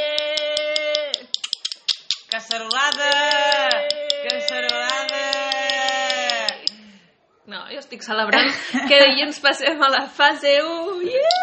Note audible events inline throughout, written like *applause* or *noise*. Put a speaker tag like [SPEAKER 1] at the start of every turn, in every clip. [SPEAKER 1] Eh,
[SPEAKER 2] Casserolada! Casserolada!
[SPEAKER 1] No, jo estic celebrant que avui ens passem a la fase 1. Yeah!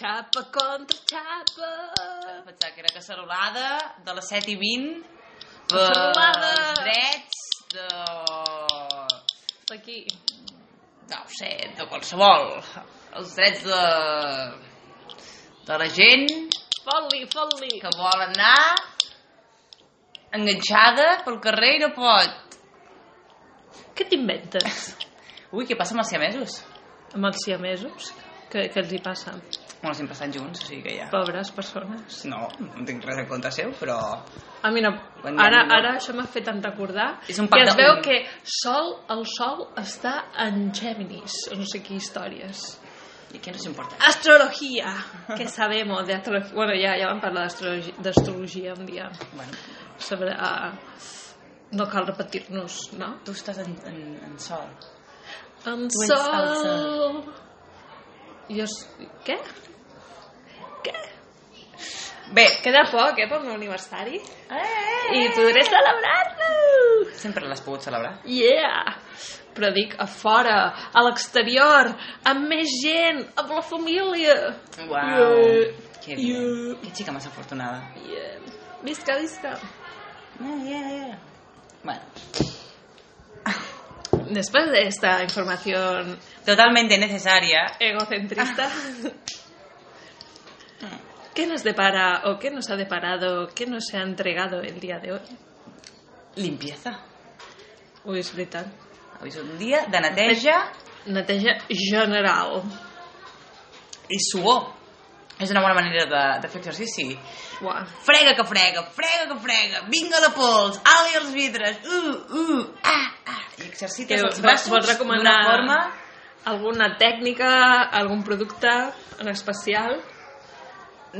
[SPEAKER 1] Xapa contra xapa.
[SPEAKER 2] Pensava que era casserolada de les 7 i 20
[SPEAKER 1] Casserolada!
[SPEAKER 2] pels drets de...
[SPEAKER 1] Aquí.
[SPEAKER 2] no ho sé, de qualsevol els drets de de la gent
[SPEAKER 1] Fot-li, fot-li.
[SPEAKER 2] que vol anar enganxada pel carrer i no pot
[SPEAKER 1] Què t'inventes?
[SPEAKER 2] ui, què passa amb els siamesos?
[SPEAKER 1] Amb els siamesos? Què, què els hi passa?
[SPEAKER 2] Bueno, sempre estan junts, o sigui que ja...
[SPEAKER 1] Pobres persones.
[SPEAKER 2] No, no tinc res en contra seu, però...
[SPEAKER 1] Ah, mira,
[SPEAKER 2] Quan hi ha
[SPEAKER 1] ara,
[SPEAKER 2] ningú.
[SPEAKER 1] ara això m'ha fet tant recordar
[SPEAKER 2] És un
[SPEAKER 1] que
[SPEAKER 2] pacte
[SPEAKER 1] es veu
[SPEAKER 2] únic.
[SPEAKER 1] que sol, el sol està en Géminis, o no sé què històries.
[SPEAKER 2] I què no s'importa?
[SPEAKER 1] Astrología, que sabemos de astrología. Bueno, ya, ya vam parlar d'astrologi- d'astrologia un dia.
[SPEAKER 2] Bueno,
[SPEAKER 1] Sobre, ah, no cal repetir-nos, no?
[SPEAKER 2] tu estàs en, en, en sol.
[SPEAKER 1] Em
[SPEAKER 2] Tu ets el
[SPEAKER 1] sol... Jo... s- Què? Què?
[SPEAKER 2] Bé,
[SPEAKER 1] Queda poc, eh, pel meu aniversari.
[SPEAKER 2] eh,
[SPEAKER 1] I podré celebrar-lo!
[SPEAKER 2] sempre l'has pogut celebrar.
[SPEAKER 1] Yeah! Però dic a fora, a l'exterior, amb més gent, amb la família.
[SPEAKER 2] Uau,
[SPEAKER 1] Yeah.
[SPEAKER 2] que bé.
[SPEAKER 1] Yeah.
[SPEAKER 2] Que xica més afortunada.
[SPEAKER 1] Yeah. Visca, visca.
[SPEAKER 2] Yeah, yeah, yeah. Bueno,
[SPEAKER 1] Después de esta información
[SPEAKER 2] totalmente necesaria.
[SPEAKER 1] *laughs* egocentrista, ¿qué nos depara o qué nos ha deparado, qué nos se ha entregado el día de hoy?
[SPEAKER 2] Limpieza.
[SPEAKER 1] Ui, és veritat.
[SPEAKER 2] Avui és un dia de neteja
[SPEAKER 1] Neteja general.
[SPEAKER 2] i suor. És una bona manera de, de fer exercici.
[SPEAKER 1] Uah.
[SPEAKER 2] Frega que frega, frega que frega, vinga la pols, ali els vidres, uh, uh, ah, ah. I exercites
[SPEAKER 1] Que
[SPEAKER 2] els
[SPEAKER 1] vols- vols
[SPEAKER 2] braços d'una
[SPEAKER 1] recomanar-
[SPEAKER 2] forma...
[SPEAKER 1] Alguna tècnica, algun producte en especial?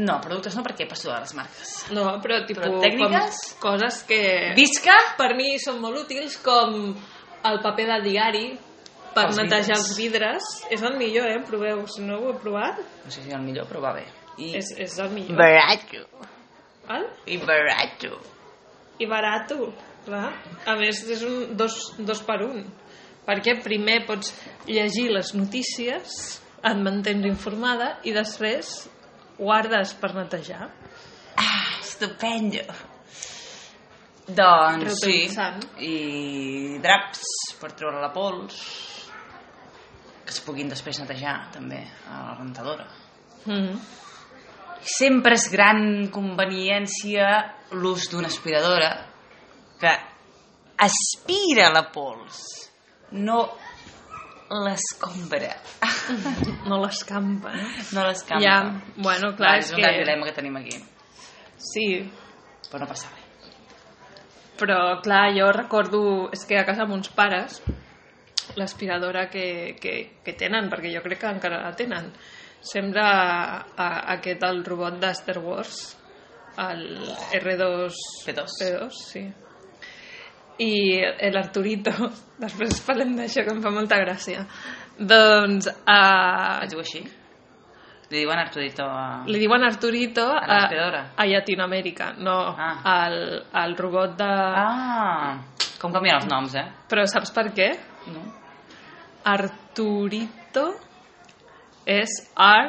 [SPEAKER 2] No, productes no, perquè passo de les marques.
[SPEAKER 1] No, però tipus...
[SPEAKER 2] Però tècniques?
[SPEAKER 1] Com, coses que...
[SPEAKER 2] Visca!
[SPEAKER 1] per mi són molt útils com el paper de diari per
[SPEAKER 2] Els
[SPEAKER 1] netejar
[SPEAKER 2] vidres.
[SPEAKER 1] els vidres. És el millor, eh? Proveu, si no ho he provat,
[SPEAKER 2] No sé si és el millor, però va bé. I...
[SPEAKER 1] és, és el millor.
[SPEAKER 2] Barato.
[SPEAKER 1] Val?
[SPEAKER 2] I barato.
[SPEAKER 1] I barato, clar. A més, és un dos, dos per un. Perquè primer pots llegir les notícies, et mantens informada i després guardes per netejar.
[SPEAKER 2] Ah, estupendo. Doncs sí,
[SPEAKER 1] Reutilitzant.
[SPEAKER 2] i draps per treure la pols, que es puguin després netejar també a la rentadora.
[SPEAKER 1] Mm.
[SPEAKER 2] Sempre és gran conveniència l'ús d'una aspiradora que aspira la pols, no l'escombra, *laughs*
[SPEAKER 1] No l'escampa, no?
[SPEAKER 2] no l'escampa.
[SPEAKER 1] Ja, bueno, clar,
[SPEAKER 2] és,
[SPEAKER 1] és
[SPEAKER 2] un
[SPEAKER 1] que-
[SPEAKER 2] gran dilema que tenim aquí,
[SPEAKER 1] Sí,
[SPEAKER 2] però no passa res.
[SPEAKER 1] Però, clar, jo recordo... És que a casa amb uns pares, l'aspiradora que, que, que tenen, perquè jo crec que encara la tenen, sembla a, a aquest, el robot de Star Wars, el R2...
[SPEAKER 2] P2.
[SPEAKER 1] P2, sí. I eh, l'Arturito, *laughs* després parlem d'això que em fa molta gràcia. Doncs a,
[SPEAKER 2] Es diu així? Li diuen Arturito a...
[SPEAKER 1] li diuen Arturito
[SPEAKER 2] A l'aspiradora.
[SPEAKER 1] a Llatinoamèrica, no
[SPEAKER 2] Ah.
[SPEAKER 1] al, al robot de...
[SPEAKER 2] Ah, com canvien els noms, eh?
[SPEAKER 1] Però saps per què?
[SPEAKER 2] No?
[SPEAKER 1] Arturito es Ar.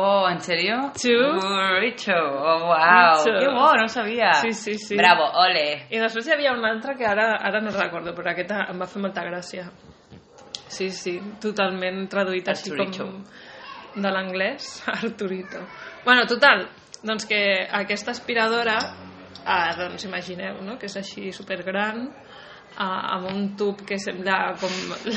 [SPEAKER 2] Oh, en serio?
[SPEAKER 1] Tu.
[SPEAKER 2] Richo, oh, wow.
[SPEAKER 1] Richo.
[SPEAKER 2] Que bo, no ho sabia.
[SPEAKER 1] Sí, sí, sí.
[SPEAKER 2] Bravo, ole.
[SPEAKER 1] I després hi havia un altre que ara, ara no recordo, però aquesta em va fer molta gràcia. Sí, sí, totalment traduït així
[SPEAKER 2] Arturito.
[SPEAKER 1] com de l'anglès, *laughs* Arturito. Bueno, total, doncs que aquesta aspiradora, ah, doncs imagineu, no?, que és així supergran, ah, amb un tub que sembla com... *laughs*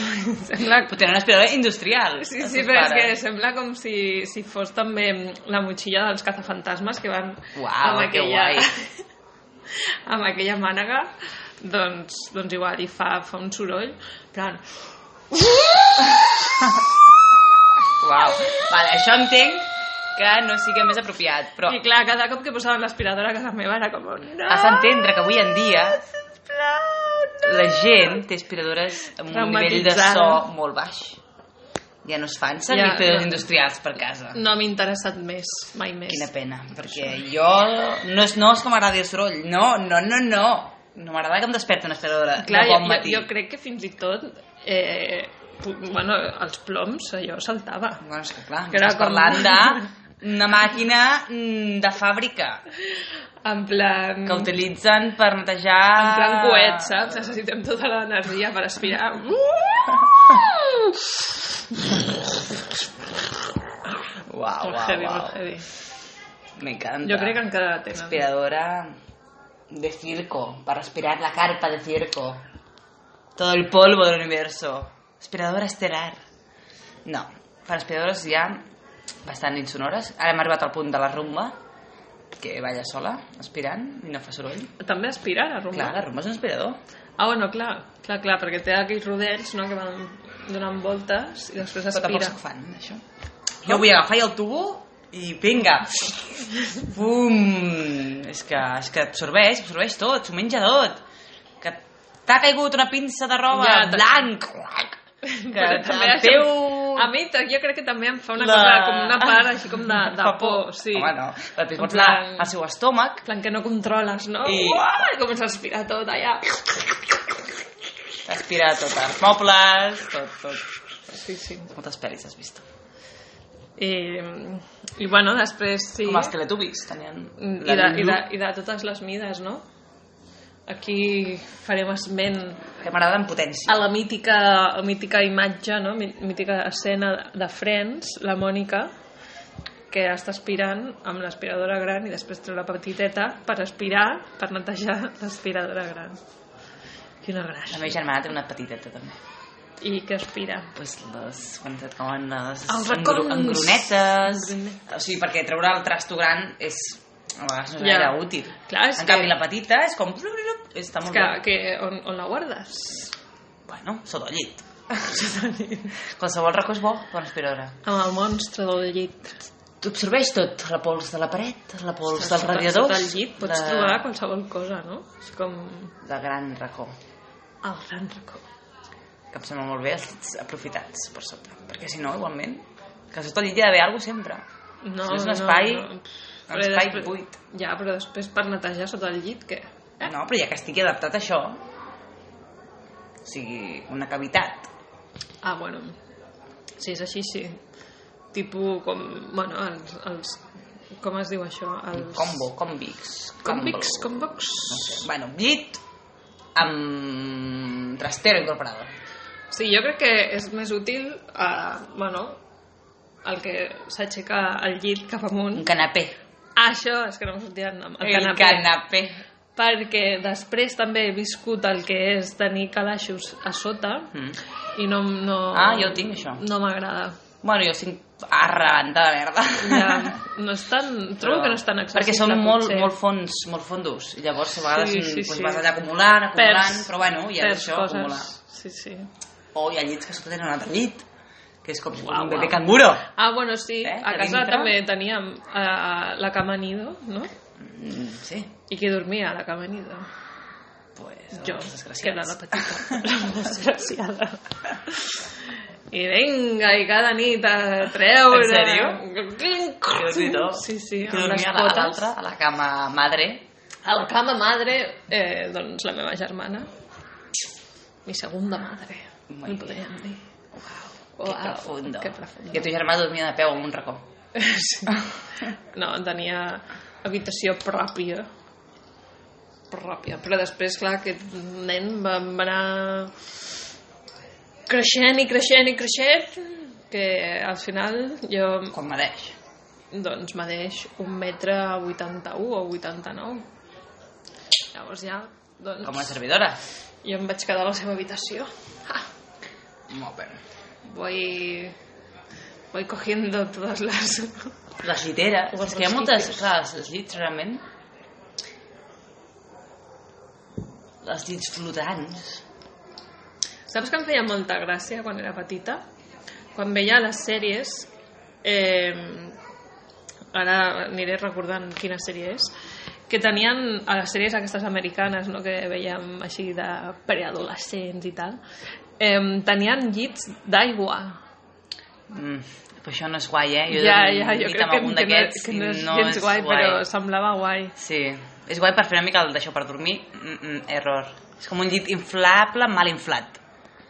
[SPEAKER 1] sembla
[SPEAKER 2] Però tenen una aspiradora industrial.
[SPEAKER 1] Sí,
[SPEAKER 2] els
[SPEAKER 1] sí,
[SPEAKER 2] seus
[SPEAKER 1] però és que
[SPEAKER 2] pares.
[SPEAKER 1] sembla com si, si fos també la motxilla dels cazafantasmes que van
[SPEAKER 2] Uau,
[SPEAKER 1] amb,
[SPEAKER 2] que
[SPEAKER 1] aquella,
[SPEAKER 2] guai.
[SPEAKER 1] *laughs* amb aquella mànega doncs, doncs igual, i fa, fa un soroll en plan,
[SPEAKER 2] Uau. Vale, això entenc que no sigui més apropiat, però
[SPEAKER 1] i clar, cada cop que posaven l'aspiradora a casa meva era com no,
[SPEAKER 2] has d'entendre que avui en dia
[SPEAKER 1] sisplau, no.
[SPEAKER 2] la gent té aspiradores amb un nivell de so
[SPEAKER 1] Traumatitzada.
[SPEAKER 2] molt baix. Ja no es fan servir
[SPEAKER 1] Ja, Mm.
[SPEAKER 2] pedres
[SPEAKER 1] no.
[SPEAKER 2] industrials per casa.
[SPEAKER 1] No m'ha interessat més, mai més.
[SPEAKER 2] Quina pena, perquè jo... No és, no és que m'agradi el soroll, no, no, no, no. No m'agrada que em desperti una esferadora
[SPEAKER 1] Clar,
[SPEAKER 2] de
[SPEAKER 1] jo,
[SPEAKER 2] bon
[SPEAKER 1] jo,
[SPEAKER 2] matí.
[SPEAKER 1] jo crec que fins i tot eh, pu- bueno, els ploms allò saltava.
[SPEAKER 2] Bueno, és que clar,
[SPEAKER 1] Que era
[SPEAKER 2] estàs
[SPEAKER 1] com-
[SPEAKER 2] parlant
[SPEAKER 1] *laughs*
[SPEAKER 2] de una màquina mm, de fàbrica
[SPEAKER 1] En plan...
[SPEAKER 2] que utilitzen per netejar...
[SPEAKER 1] Mm. En
[SPEAKER 2] Ah.
[SPEAKER 1] plan coet, saps? Necessitem tota l'energia per
[SPEAKER 2] *laughs*
[SPEAKER 1] aspirar. Uau,
[SPEAKER 2] Uau,
[SPEAKER 1] molt
[SPEAKER 2] uau,
[SPEAKER 1] heavy, molt
[SPEAKER 2] uau.
[SPEAKER 1] heavy.
[SPEAKER 2] M'encanta.
[SPEAKER 1] Jo crec que encara la tenen.
[SPEAKER 2] Aspiradora de circo, para aspirar la carpa de circo. Todo el polvo del universo. Aspiradora estelar. No, per aspiradores hi ha bastant insonores. Ara hem arribat al punt de la rumba, que balla sola, aspirant, i no fa soroll.
[SPEAKER 1] També aspirar a
[SPEAKER 2] Clar,
[SPEAKER 1] rumbar.
[SPEAKER 2] la rumba és un aspirador.
[SPEAKER 1] Ah, bueno, clar, clar, clar, perquè té aquells rodets no, que van donant voltes i després
[SPEAKER 2] Però tampoc
[SPEAKER 1] aspira.
[SPEAKER 2] se'n fan, això. Jo vull agafar el tubo i vinga. Bum! És que, és que absorbeix, absorbeix tot, s'ho menja tot. Que t'ha caigut una pinça de roba
[SPEAKER 1] Ja, t'ha-
[SPEAKER 2] blanc. clac, Que
[SPEAKER 1] *laughs* Però també
[SPEAKER 2] el
[SPEAKER 1] això-
[SPEAKER 2] teu...
[SPEAKER 1] A mi ta- jo crec que també em fa una
[SPEAKER 2] La-
[SPEAKER 1] cosa, com una part així com
[SPEAKER 2] *laughs*
[SPEAKER 1] de, de
[SPEAKER 2] Fa
[SPEAKER 1] por, sí.
[SPEAKER 2] Home, no. Després
[SPEAKER 1] En
[SPEAKER 2] pots anar
[SPEAKER 1] plan-
[SPEAKER 2] al seu estómac
[SPEAKER 1] En plan que no controles, no?
[SPEAKER 2] I-
[SPEAKER 1] Uah, i comença a aspirar tot allà.
[SPEAKER 2] aspirar tot els mobles, tot, tot.
[SPEAKER 1] Sí, sí.
[SPEAKER 2] Moltes pel·lis has vist.
[SPEAKER 1] I, i bueno, després sí...
[SPEAKER 2] Com els teletubbies tenien...
[SPEAKER 1] Mm,
[SPEAKER 2] la
[SPEAKER 1] I de, i, de,
[SPEAKER 2] llum.
[SPEAKER 1] I de totes les mides, no? Aquí farem esment
[SPEAKER 2] Que m'agrada en potència.
[SPEAKER 1] a la mítica, mítica imatge, no? Mi- mítica escena de Friends, la Mònica, que està aspirant amb l'aspiradora gran i després treu la petiteta per aspirar, per netejar l'aspiradora gran. Quina
[SPEAKER 2] La
[SPEAKER 1] gràcia.
[SPEAKER 2] meva germana té una petiteta, també.
[SPEAKER 1] I que aspira.
[SPEAKER 2] pues les, quan et cauen les
[SPEAKER 1] Els
[SPEAKER 2] engru,
[SPEAKER 1] racons.
[SPEAKER 2] engrunetes
[SPEAKER 1] Engrunetes.
[SPEAKER 2] o sigui, perquè treure el trasto gran és a vegades no és
[SPEAKER 1] Ja.
[SPEAKER 2] gaire útil
[SPEAKER 1] Clar, és
[SPEAKER 2] en
[SPEAKER 1] que-
[SPEAKER 2] canvi la petita és com està
[SPEAKER 1] És
[SPEAKER 2] molt
[SPEAKER 1] que,
[SPEAKER 2] bé
[SPEAKER 1] que on, on la guardes?
[SPEAKER 2] bueno, sota
[SPEAKER 1] *laughs*
[SPEAKER 2] el llit qualsevol racó és bo per aspiradora
[SPEAKER 1] Amb el monstre del llit.
[SPEAKER 2] t'absorbeix tot la pols de la paret la pols
[SPEAKER 1] Ostres,
[SPEAKER 2] dels
[SPEAKER 1] sota-
[SPEAKER 2] radiadors
[SPEAKER 1] Sota el llit pots
[SPEAKER 2] la,
[SPEAKER 1] trobar qualsevol cosa, no? És com
[SPEAKER 2] la gran racó
[SPEAKER 1] el gran Ah, racó.
[SPEAKER 2] que em sembla molt bé els dits aprofitats per sota perquè si no, igualment que sota el llit hi ha d'haver alguna cosa sempre
[SPEAKER 1] No,
[SPEAKER 2] Si no és un espai-
[SPEAKER 1] no.
[SPEAKER 2] un
[SPEAKER 1] Però
[SPEAKER 2] espai
[SPEAKER 1] després-
[SPEAKER 2] buit.
[SPEAKER 1] Ja, però després per netejar sota el llit, què?
[SPEAKER 2] No, però ja que estigui adaptat a això, o sigui, una cavitat.
[SPEAKER 1] Ah, bueno. Si és així, sí. Tipo com... Bueno, els... els com es diu això? Els...
[SPEAKER 2] Combo, convix.
[SPEAKER 1] Convics,
[SPEAKER 2] combo.
[SPEAKER 1] convox.
[SPEAKER 2] No sé. Bueno, llit amb trastero incorporado.
[SPEAKER 1] Sí, jo crec que és més útil, a, bueno, el que s'aixeca el llit cap amunt.
[SPEAKER 2] Un canapé.
[SPEAKER 1] Ah, això, és que no em sortia el nom. El,
[SPEAKER 2] Mm. El
[SPEAKER 1] canapé.
[SPEAKER 2] canapé.
[SPEAKER 1] Perquè després també he viscut el que és tenir calaixos a sota
[SPEAKER 2] Mm.
[SPEAKER 1] i no... no
[SPEAKER 2] Ah, jo ho tinc, això.
[SPEAKER 1] No m'agrada.
[SPEAKER 2] Bueno, jo estic arrebanta de merda. *laughs*
[SPEAKER 1] Ja, no és tan... Trobo que no és tan accessible,
[SPEAKER 2] Perquè són molt,
[SPEAKER 1] potser.
[SPEAKER 2] molt fons, molt fondos. I llavors, a vegades,
[SPEAKER 1] Sí,
[SPEAKER 2] sí,
[SPEAKER 1] sí, sí.
[SPEAKER 2] vas allà acumulant, acumulant,
[SPEAKER 1] Perds-
[SPEAKER 2] però bueno, ja és
[SPEAKER 1] perds
[SPEAKER 2] això,
[SPEAKER 1] coses.
[SPEAKER 2] acumular.
[SPEAKER 1] Sí, sí.
[SPEAKER 2] O hi ha llits que sota tenen un altre llit, que és com
[SPEAKER 1] Uau,
[SPEAKER 2] un bebè
[SPEAKER 1] uau.
[SPEAKER 2] canguro.
[SPEAKER 1] Ah, bueno, sí,
[SPEAKER 2] Eh,
[SPEAKER 1] a
[SPEAKER 2] de
[SPEAKER 1] casa
[SPEAKER 2] dintre.
[SPEAKER 1] també teníem eh, la cama nido, no?
[SPEAKER 2] Mm, sí,
[SPEAKER 1] I qui dormia a la cama nido?
[SPEAKER 2] pues,
[SPEAKER 1] Jo,
[SPEAKER 2] els Doncs desgraciats.
[SPEAKER 1] que era la petita, la desgraciada. I vinga, i cada nit a treure...
[SPEAKER 2] En sèrio?
[SPEAKER 1] Clinc!
[SPEAKER 2] Déu-n'hi-do.
[SPEAKER 1] Sí, sí,
[SPEAKER 2] Jo
[SPEAKER 1] amb les
[SPEAKER 2] dormia a la- a
[SPEAKER 1] potes.
[SPEAKER 2] l'altra, a la cama madre.
[SPEAKER 1] A la cama madre, eh, doncs la meva germana. Mi segunda madre,
[SPEAKER 2] Muy
[SPEAKER 1] li
[SPEAKER 2] bien.
[SPEAKER 1] podríem dir.
[SPEAKER 2] Wow, que
[SPEAKER 1] Uau,
[SPEAKER 2] profundo.
[SPEAKER 1] Oh, ah, que profundo. *laughs*
[SPEAKER 2] I el teu germà dormia de peu en un racó.
[SPEAKER 1] Sí. No, tenia habitació pròpia. Pròpia. Però després, clar, aquest nen va, va anar creixent i creixent i creixent que al final jo
[SPEAKER 2] Com mereix.
[SPEAKER 1] doncs medeix un metre 81 o 89 llavors ja doncs,
[SPEAKER 2] Com una servidora.
[SPEAKER 1] jo em vaig quedar a la seva habitació ah,
[SPEAKER 2] Molt bé.
[SPEAKER 1] voy voy cogiendo todas las
[SPEAKER 2] Les lliteres.
[SPEAKER 1] Les
[SPEAKER 2] és que hi ha moltes... Clar, els- els llits realment... Els llits flotants.
[SPEAKER 1] Saps que em feia molta gràcia quan era petita? Quan veia les sèries... Eh, ara aniré recordant quina sèrie és que tenien a les sèries aquestes americanes no, que veiem així de preadolescents i tal eh, tenien llits d'aigua
[SPEAKER 2] Mm, però això no és guai, eh? Jo
[SPEAKER 1] ja,
[SPEAKER 2] he
[SPEAKER 1] ja, jo
[SPEAKER 2] dit
[SPEAKER 1] crec
[SPEAKER 2] amb
[SPEAKER 1] que, que,
[SPEAKER 2] algun
[SPEAKER 1] no,
[SPEAKER 2] d'aquests
[SPEAKER 1] que
[SPEAKER 2] i
[SPEAKER 1] no és gens guai, però semblava guai.
[SPEAKER 2] Sí, és guai per fer una mica el d'això per dormir, mm -mm, error. És com un llit inflable, mal inflat.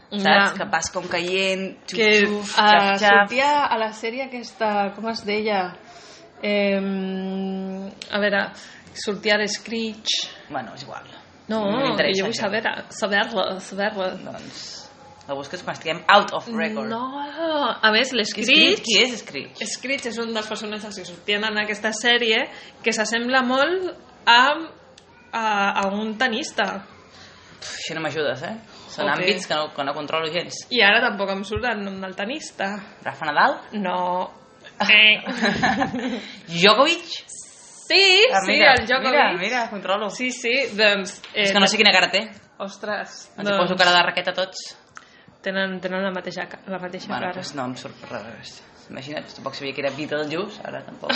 [SPEAKER 2] Saps?
[SPEAKER 1] Ja.
[SPEAKER 2] Que vas com caient, xuf,
[SPEAKER 1] que
[SPEAKER 2] xuf,
[SPEAKER 1] ah,
[SPEAKER 2] xaf, xaf.
[SPEAKER 1] sortia a la sèrie aquesta, com es deia? Eh, a veure, sortia de Screech...
[SPEAKER 2] Bueno, és igual.
[SPEAKER 1] No,
[SPEAKER 2] Mm,
[SPEAKER 1] que
[SPEAKER 2] m'interessa
[SPEAKER 1] jo vull
[SPEAKER 2] això.
[SPEAKER 1] saber, saber-la, saber-la.
[SPEAKER 2] Doncs la busques quan estiguem out of record.
[SPEAKER 1] No, a més,
[SPEAKER 2] Screech,
[SPEAKER 1] l'Screech...
[SPEAKER 2] qui és Screech?
[SPEAKER 1] Screech és un dels personatges que sortien en aquesta sèrie que s'assembla molt a, a, a un tenista.
[SPEAKER 2] Pff, això no m'ajudes, eh? Són
[SPEAKER 1] Ok.
[SPEAKER 2] àmbits que no, que no controlo gens.
[SPEAKER 1] I ara tampoc em surt el nom del tenista.
[SPEAKER 2] Rafa Nadal? *laughs*
[SPEAKER 1] No. Eh.
[SPEAKER 2] Djokovic?
[SPEAKER 1] Sí,
[SPEAKER 2] Ah,
[SPEAKER 1] sí,
[SPEAKER 2] mira,
[SPEAKER 1] el Djokovic.
[SPEAKER 2] Mira, mira, controlo.
[SPEAKER 1] Sí, sí, doncs... Eh,
[SPEAKER 2] és que no sé quina cara té.
[SPEAKER 1] Ostres, doncs,
[SPEAKER 2] Ens hi poso cara de raqueta a tots.
[SPEAKER 1] tenen, tenen la mateixa, ca- la mateixa
[SPEAKER 2] Bueno,
[SPEAKER 1] cara.
[SPEAKER 2] doncs no em surt per res. Imagina't, tampoc sabia que era Beetlejuice, ara tampoc.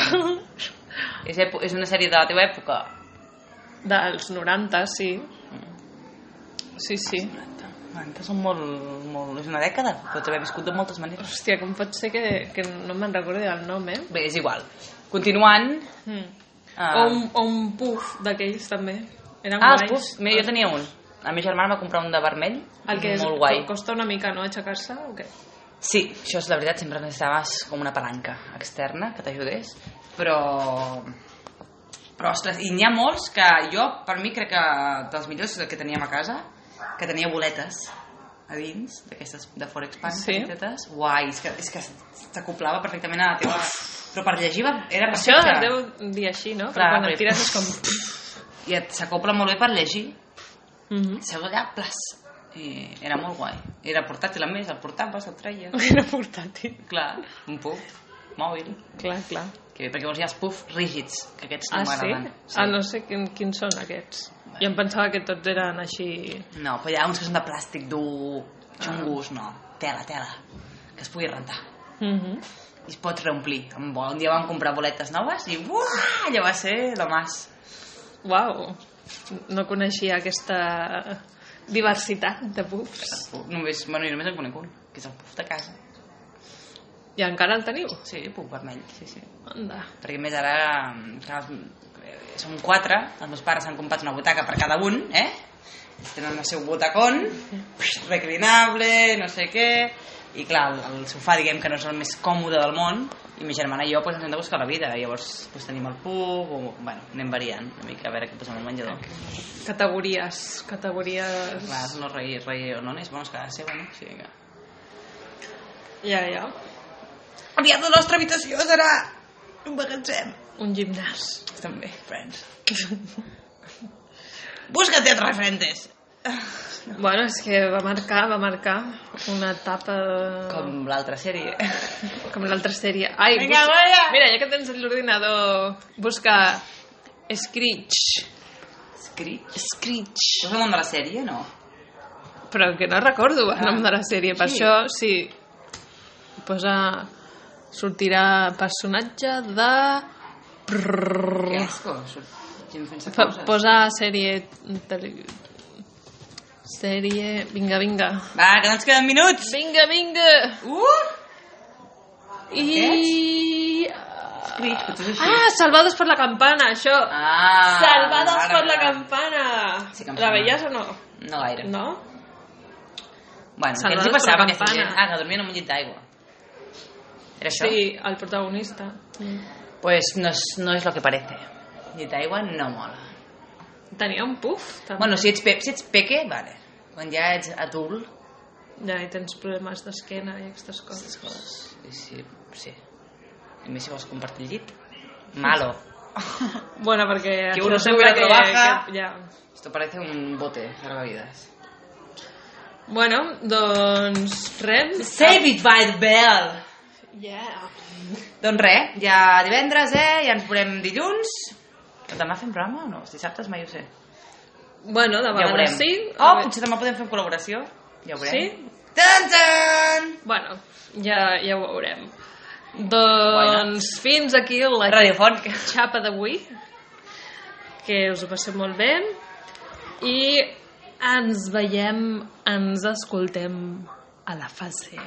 [SPEAKER 2] *laughs* és, epo- és una sèrie de la teva època.
[SPEAKER 1] Dels 90, sí.
[SPEAKER 2] Mm.
[SPEAKER 1] Sí, sí.
[SPEAKER 2] 90. 90 són molt, molt... És una dècada, pots haver viscut de moltes maneres.
[SPEAKER 1] Hòstia, com pot ser que, que no me'n recordi el nom, eh?
[SPEAKER 2] Bé, és igual. Continuant...
[SPEAKER 1] Mm. O,
[SPEAKER 2] ah,
[SPEAKER 1] un, o un puff d'aquells, també. Eren
[SPEAKER 2] ah, els
[SPEAKER 1] Oh, guais.
[SPEAKER 2] puffs. Mira, jo tenia un. A mi germà em va comprar un de vermell,
[SPEAKER 1] El que és,
[SPEAKER 2] molt guai.
[SPEAKER 1] costa una mica, no?, aixecar-se, o què?
[SPEAKER 2] Sí, això és la veritat, sempre necessitaves com una palanca externa que t'ajudés, però... Però, ostres, i n'hi ha molts que jo, per mi, crec que dels millors que teníem a casa, que tenia boletes a dins, d'aquestes de Forex Pan,
[SPEAKER 1] Sí.
[SPEAKER 2] petites. Guai, és que, és que s'acoplava perfectament a la teva... Però per llegir va- era
[SPEAKER 1] Això
[SPEAKER 2] perfecte.
[SPEAKER 1] es deu dir així, no? Però
[SPEAKER 2] Ah, Clar,
[SPEAKER 1] quan
[SPEAKER 2] perquè-
[SPEAKER 1] el tires és com...
[SPEAKER 2] *laughs* I et s'acopla molt bé per llegir.
[SPEAKER 1] Mhm. *laughs*
[SPEAKER 2] Seu allà, plas. I era molt guai. Era portàtil a més, el portaves, el treies.
[SPEAKER 1] Era portàtil.
[SPEAKER 2] Clar, un puc, mòbil.
[SPEAKER 1] Clar, clar.
[SPEAKER 2] Que bé, perquè llavors hi ha els puffs rígids, que aquests no
[SPEAKER 1] Ah, sí?
[SPEAKER 2] m'agraden.
[SPEAKER 1] Ah, no sé quin, quins són aquests. Jo em pensava que tots eren així...
[SPEAKER 2] No, però hi ha uns que són de plàstic dur, xungos, no. Tela, tela, que es pugui rentar.
[SPEAKER 1] Mhm.
[SPEAKER 2] I es pot reomplir. Amb bo. Un dia vam comprar boletes noves i uah, allò va ser lo más.
[SPEAKER 1] Uau, no coneixia aquesta diversitat de puffs.
[SPEAKER 2] Només, bueno, jo només en conec un, que és el puff de casa.
[SPEAKER 1] I encara el teniu?
[SPEAKER 2] Sí, puff vermell, sí, sí.
[SPEAKER 1] Anda.
[SPEAKER 2] Perquè a més ara, clar, els- són mm, quatre, els meus pares han comprat una butaca per cada un, eh? Ells tenen el seu butacón, reclinable, no sé què... I clar, el, el sofà diguem que no és el més còmode del món i mi germana i jo pues, ens hem de buscar la vida llavors pues, tenim el puc o bueno, anem variant una mica a veure què posem al menjador
[SPEAKER 1] Categories, categories...
[SPEAKER 2] clar, no rei, rei o no és bueno, és cada seva no? sí, vinga.
[SPEAKER 1] Ja, ja.
[SPEAKER 2] aviat la nostra habitació serà un magatzem
[SPEAKER 1] Un gimnàs.
[SPEAKER 2] També, friends. *laughs* Búscate altres frentes.
[SPEAKER 1] Bueno, és que va marcar, va marcar una etapa...
[SPEAKER 2] Com l'altra sèrie.
[SPEAKER 1] Com l'altra sèrie. Ai,
[SPEAKER 2] Vinga, guanya!
[SPEAKER 1] Mira, ja que tens l'ordinador, busca Screech.
[SPEAKER 2] Screech.
[SPEAKER 1] Screech.
[SPEAKER 2] Això és el nom de la sèrie, no?
[SPEAKER 1] Però que no recordo el nom de la sèrie, per
[SPEAKER 2] Sí.
[SPEAKER 1] això sí. Posa... Sortirà personatge de...
[SPEAKER 2] Que
[SPEAKER 1] Prrrr.
[SPEAKER 2] asco. surt Gent fent
[SPEAKER 1] Fa-
[SPEAKER 2] coses.
[SPEAKER 1] Posa sèrie... tele- Sèrie... Vinga, vinga.
[SPEAKER 2] Va, que no ens queden minuts.
[SPEAKER 1] Vinga, vinga!
[SPEAKER 2] Uh!
[SPEAKER 1] I...
[SPEAKER 2] Screech, potser és així.
[SPEAKER 1] Ah, Salvados per la campana, això!
[SPEAKER 2] Ah!
[SPEAKER 1] Salvados
[SPEAKER 2] ara,
[SPEAKER 1] per la
[SPEAKER 2] ara.
[SPEAKER 1] campana!
[SPEAKER 2] Sí que em
[SPEAKER 1] La
[SPEAKER 2] sona.
[SPEAKER 1] veies o no?
[SPEAKER 2] No gaire.
[SPEAKER 1] No?
[SPEAKER 2] Bueno, què
[SPEAKER 1] Salvados
[SPEAKER 2] els hi
[SPEAKER 1] per la
[SPEAKER 2] passava a aquesta
[SPEAKER 1] campana.
[SPEAKER 2] gent? Ah, que dormien en un llit d'aigua. Era això?
[SPEAKER 1] Sí, el protagonista.
[SPEAKER 2] Pues no és, no és lo que parece. Llit d'aigua no mola.
[SPEAKER 1] Tenia un puff, també.
[SPEAKER 2] Bueno, si ets, pe si ets peque, vale. Quan ja ets adult,
[SPEAKER 1] Ja, i tens problemes d'esquena i aquestes coses.
[SPEAKER 2] Pues, sí, sí. I més si vols compartir llit. Malo.
[SPEAKER 1] Bueno, perquè...
[SPEAKER 2] Que
[SPEAKER 1] això
[SPEAKER 2] uno
[SPEAKER 1] sembla
[SPEAKER 2] sube, otro baja.
[SPEAKER 1] Que, ja.
[SPEAKER 2] Esto parece un bote salvavidas.
[SPEAKER 1] Bueno, doncs res.
[SPEAKER 2] Save it by the bell!
[SPEAKER 1] Yeah.
[SPEAKER 2] Doncs res, ja divendres, eh? Ja ens veurem dilluns. Però demà fem programa o no? Els dissabtes mai ho sé.
[SPEAKER 1] Bueno, de
[SPEAKER 2] Ja ho veurem.
[SPEAKER 1] vegades sí. a
[SPEAKER 2] Oh,
[SPEAKER 1] ve-
[SPEAKER 2] potser demà podem fer col·laboració. Ja ho veurem.
[SPEAKER 1] Sí?
[SPEAKER 2] Tan, tan!
[SPEAKER 1] Bueno, ja, ja ho veurem. Doncs fins aquí la
[SPEAKER 2] Radiofònica.
[SPEAKER 1] xapa d'avui. Que us ho passeu molt bé. I ens veiem, ens escoltem a la fase